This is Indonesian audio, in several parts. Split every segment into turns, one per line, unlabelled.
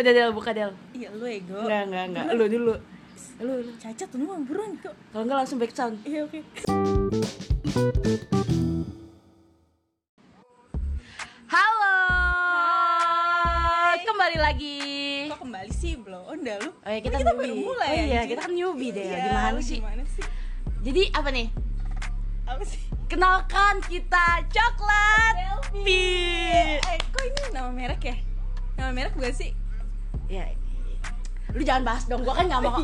Udah Del, buka Del
Iya lu ego.
Enggak, enggak, enggak Lu dulu Lu, lu.
Cacat lu mah buruan kok.
Kalau enggak langsung back sound
Iya oke.
Halo Kembali lagi
Kok kembali sih blow on dah lu?
Oh iya, kita
Kan kita
newbie.
baru mulai.
Oh iya,
anjing.
kita kan newbie, Del.
Iya,
Gimana
lu
sih?
Gimana sih?
Jadi apa nih?
Apa sih?
Kenalkan kita Coklat Pit
Eh, kok ini nama merek ya? Nama merek gue sih.
Ya lu jangan bahas dong, gua kan nggak mau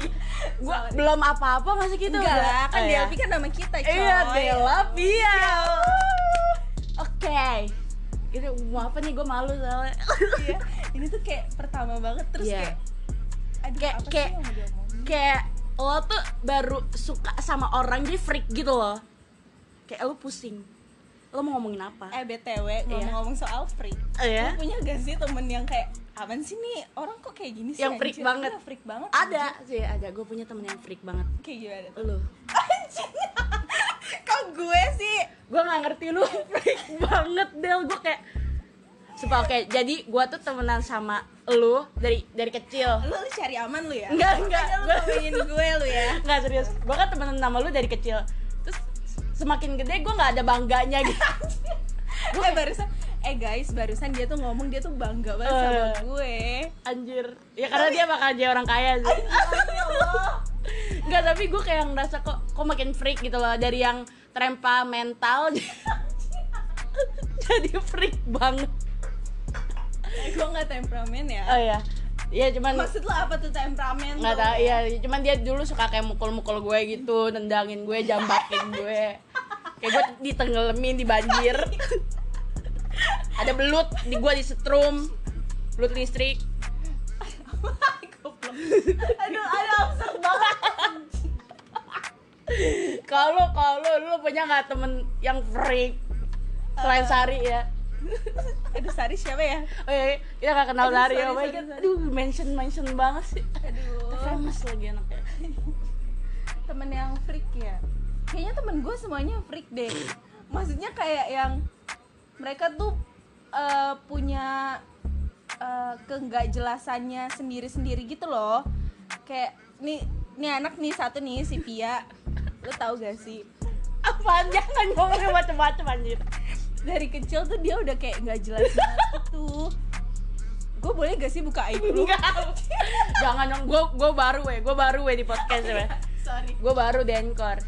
gua belum apa-apa masih gitu
Iya. Enggak lah, Iya. kan
Oh,
dia
iya.
Delphi kan nama kita, coy.
Iya, Bella Pia. Oke. Ini mau apa nih? Gue malu soalnya.
Iya. Ini tuh kayak pertama banget terus
Iya.
kayak aduh
Kayak-
apa
kayak-
sih yang mau diomongin?
Kayak lo tuh baru suka sama orang jadi freak gitu loh. Kayak lo pusing. Lo mau ngomongin apa?
Eh BTW, ngomong-ngomong soal freak
Iya.
Lu punya gak sih temen yang kayak Apaan sih nih, orang kok kayak gini sih
Yang freak
anjir?"
banget.
Iya, freak banget
Ada sih, ada. Gue punya temen yang freak banget.
Kayak gimana tuh?
Lo.
Anjing Kok gue sih?
Gue nggak ngerti lu freak banget Del. Gue kayak Sumpah, oke, jadi gue tuh temenan sama lu dari dari kecil
Lu, lu cari aman lu ya?
Enggak, enggak.
Makanya Lu
Gua-
ngomongin gue lu ya
nggak serius gue kan temenan sama lu dari kecil terus semakin gede gue nggak ada bangganya gitu
Eh barusan, eh guys barusan dia tuh ngomong dia tuh bangga banget sama
Eh.
gue
anjir ya karena dia bakal jadi orang kaya sih
Ya Allah
nggak tapi gue kayak ngerasa kok kok makin freak gitu loh dari yang terempa mental jadi freak banget
Eh, Gue gak temperamen ya
oh ya ya cuman
Maksud lu apa tuh temperamen
nggak
tuh?
tahu ya cuman dia dulu suka kayak mukul-mukul gue gitu nendangin gue jambakin gue kayak gue ditenggelamin di banjir ada belut di gue disetrum belut listrik
Goblok. Aduh, aduh absurd banget
kalau kalau lu punya nggak temen yang freak selain Sari ya
Aduh Sari siapa ya?
oh iya, iya, kita nggak kenal
Aduh,
Sari
sorry,
oh my
sorry,
God.
sorry.
aduh mention mention banget sih
Aduh
famous lagi anaknya
temen yang freak ya kayaknya temen gue semuanya freak deh maksudnya kayak yang mereka tuh eh, punya eh, kenggakjelasannya sendiri-sendiri gitu loh kayak nih nih anak nih satu nih si Pia lo tau gak sih
apaan jangan ngomongnya macam-macam anjir
dari kecil tuh dia udah kayak nggak jelas banget gitu gue boleh gak sih buka aib lu
Enggak. jangan dong gue gue baru ya gue baru ya di podcast ya
sorry
gue baru di Anchor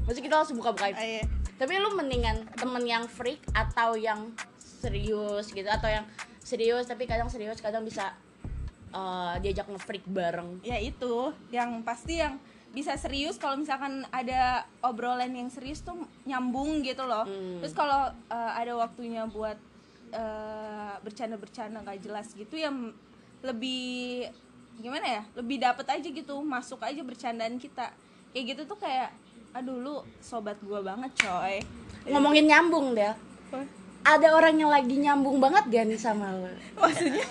Maksudnya kita langsung buka-buka aib.
Ayo.
Tapi lu mendingan temen yang freak atau yang serius gitu Atau yang serius tapi kadang serius kadang bisa eh, diajak nge-freak bareng
ya itu yang pasti yang bisa serius kalau misalkan ada obrolan yang serius tuh nyambung gitu loh
Hmm.
terus kalau uh, ada waktunya buat uh, bercanda-bercanda nggak jelas gitu yang lebih gimana ya lebih dapet aja gitu masuk aja bercandaan kita kayak gitu tuh kayak aduh lu sobat gua banget coy Iya.
Ngomongin nyambung deh Ada orang yang lagi nyambung banget gak nih sama lu?
maksudnya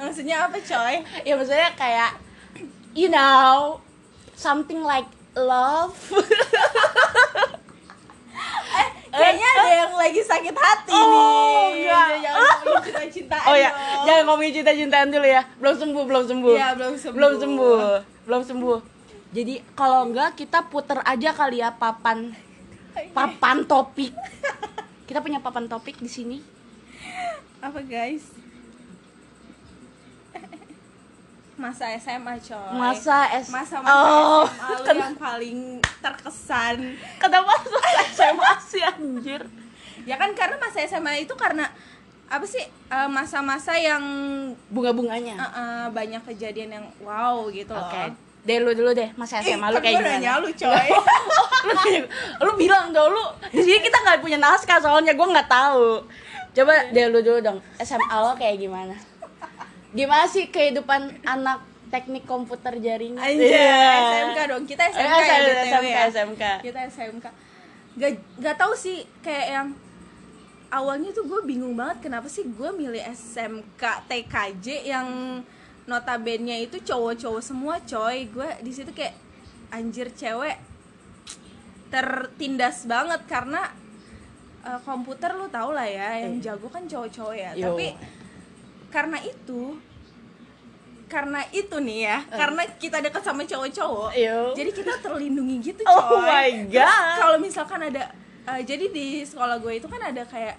maksudnya apa coy
Ya maksudnya kayak You know Something like love Eh,
kayaknya ada yang lagi sakit hati
Oh,
nih Iya,
enggak. Ah.
jangan ngomongin cinta-cintaan
Oh ya,
dong.
jangan ngomongin cinta-cintaan dulu ya. Belum sembuh, belum sembuh.
Iya, belum sembuh.
Belum sembuh. Belum sembuh. Jadi kalau enggak kita puter aja kali ya papan papan topik. Kita punya papan topik di sini.
apa guys masa SMA coy
Masa S
masa masa
Oh.
SMA lu yang paling terkesan
Kenapa masa SMA sih anjir?
ya kan karena masa SMA itu karena apa sih eh, masa-masa yang eh,
Bunga-bunganya.
eh, banyak kejadian yang wow gitu loh
Oke. Deh lu dulu deh, masa
Ih,
SMA lu
kan
kayak
gua nanya
gimana?
lu coy
lu, nanya- lu bilang dong lu di sini kita nggak punya naskah soalnya gue nggak tahu coba deh lu dulu dong SMA lo kayak gimana gimana sih kehidupan anak teknik komputer jaringan
Anjay,
Iya.
SMK dong. Kita
Eh,
SMK ya,
SMK,
BTW ya.
SMK.
Kita SMK. Gak, gak tau sih kayak yang awalnya tuh gue bingung banget kenapa sih gue milih SMK TKJ yang notabene itu cowok-cowok semua coy gue di situ kayak anjir cewek tertindas banget karena eh, komputer lu tau lah ya yang jago kan cowok-cowok ya
Iya. Yo.
tapi karena itu karena itu nih ya karena kita dekat sama cowok-cowok
Eh. Yo.
jadi kita terlindungi gitu coy
Oh my
Terus
God.
kalau misalkan ada eh, jadi di sekolah gue itu kan ada kayak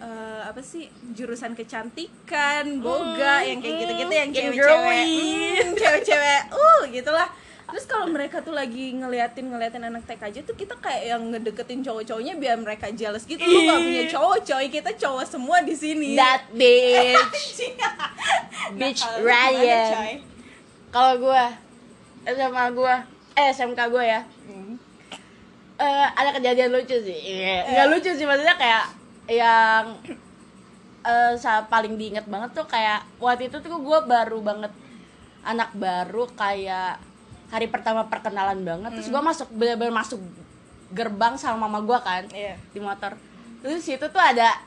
eh, apa sih jurusan kecantikan boga
Hmm,
yang kayak gitu-gitu
hmm,
yang
yang
cewek-cewek
girly.
hmm, cewek-cewek uh gitulah terus kalau mereka tuh lagi ngeliatin ngeliatin anak TK aja tuh kita kayak yang ngedeketin cowok-cowoknya biar mereka jealous gitu lu gak
Ih.
punya cowok coy kita cowok semua di sini
That bitch, bitch
Nah, kalau lu gimana, coy?
Ryan. Kalau gue, SMA gue, eh SMK gue ya,
Hmm.
eh ada kejadian lucu sih Iya. nggak lucu sih maksudnya kayak yang eh sa- paling diinget banget tuh kayak waktu itu tuh gue baru banget anak baru kayak hari pertama perkenalan banget terus gue masuk bener-bener masuk gerbang sama mama gue kan
Iya.
di motor terus situ tuh ada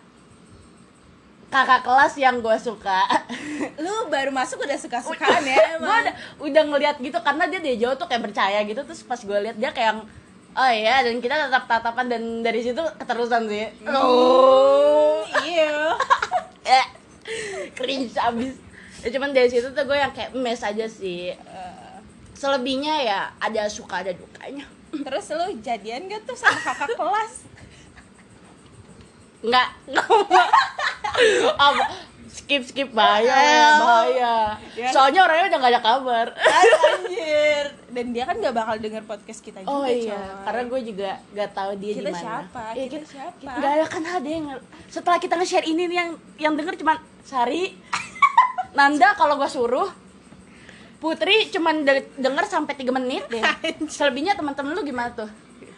kakak kelas yang gue suka
lu baru masuk udah suka-sukaan
gue
ya emang
udah, udah ngeliat gitu karena dia dari jauh tuh kayak percaya gitu terus pas gue liat dia kayak yang, oh iya dan kita tetap tatapan dan dari situ keterusan sih oh
iya
eh, cringe abis Ya, cuman dari situ tuh gue yang kayak mes aja sih
Eh,
selebihnya ya ada suka ada dukanya
terus lu jadian gak tuh sama kakak kelas
nggak nggak mau. Apa? skip skip bahaya bahaya
Ya.
soalnya orangnya udah gak ada kabar
Ay, anjir dan dia kan gak bakal denger podcast kita juga
Oh iya,
coy.
karena gue juga gak tahu dia
Kita
di mana.
siapa?
Iya,
Kita siapa?
Gak ada kan ada yang setelah kita nge-share ini nih yang yang denger cuman Sari, Nanda kalau gue suruh, Putri cuman de- denger sampai 3 menit deh. Selebihnya teman-teman lu gimana tuh?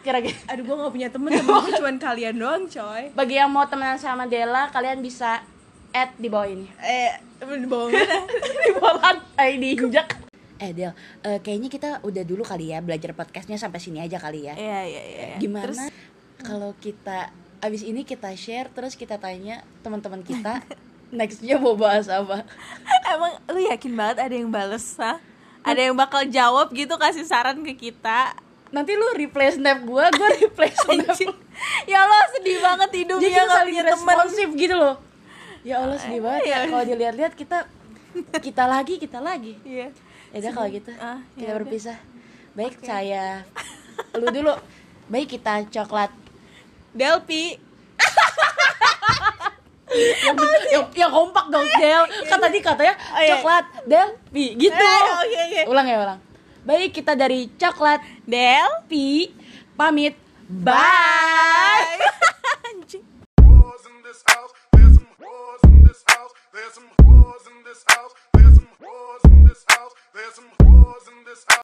Kira-kira
aduh gue gak punya temen temen gue cuman kalian doang coy
bagi yang mau temenan sama Della, kalian bisa add di bawah ini.
eh bohong mana
di bolan eh diinjak eh Del eh, kayaknya kita udah dulu kali ya belajar podcastnya sampai sini aja kali ya
iya iya iya
gimana
terus
kalau kita abis ini kita share terus kita tanya teman-teman kita nextnya mau bahas apa
emang lu yakin banget ada yang bales ha? ada yang bakal jawab gitu kasih saran ke kita
nanti lu replay snap gue gue replay snap
Anjir. ya Allah sedih banget
jadi
hidupnya
kita
gak
saling
punya temen
responsif gitu loh ya allah sedih banget ya
Ya.
kalau dilihat-lihat kita kita lagi kita lagi
Iya.
ya udah kalau gitu
Ah, ya
kita
udah.
berpisah baik saya lu dulu baik kita coklat
Delpi
yang, yang, yang kompak dong Del kan tadi katanya
Iya, Oh, iya.
coklat Del Pi gitu
Eh, oke, oke.
ulang ya ulang baik kita dari coklat
Del
Pi pamit bye
Anjing.
whores in this house. There's some whores in this house. There's some whores in this house.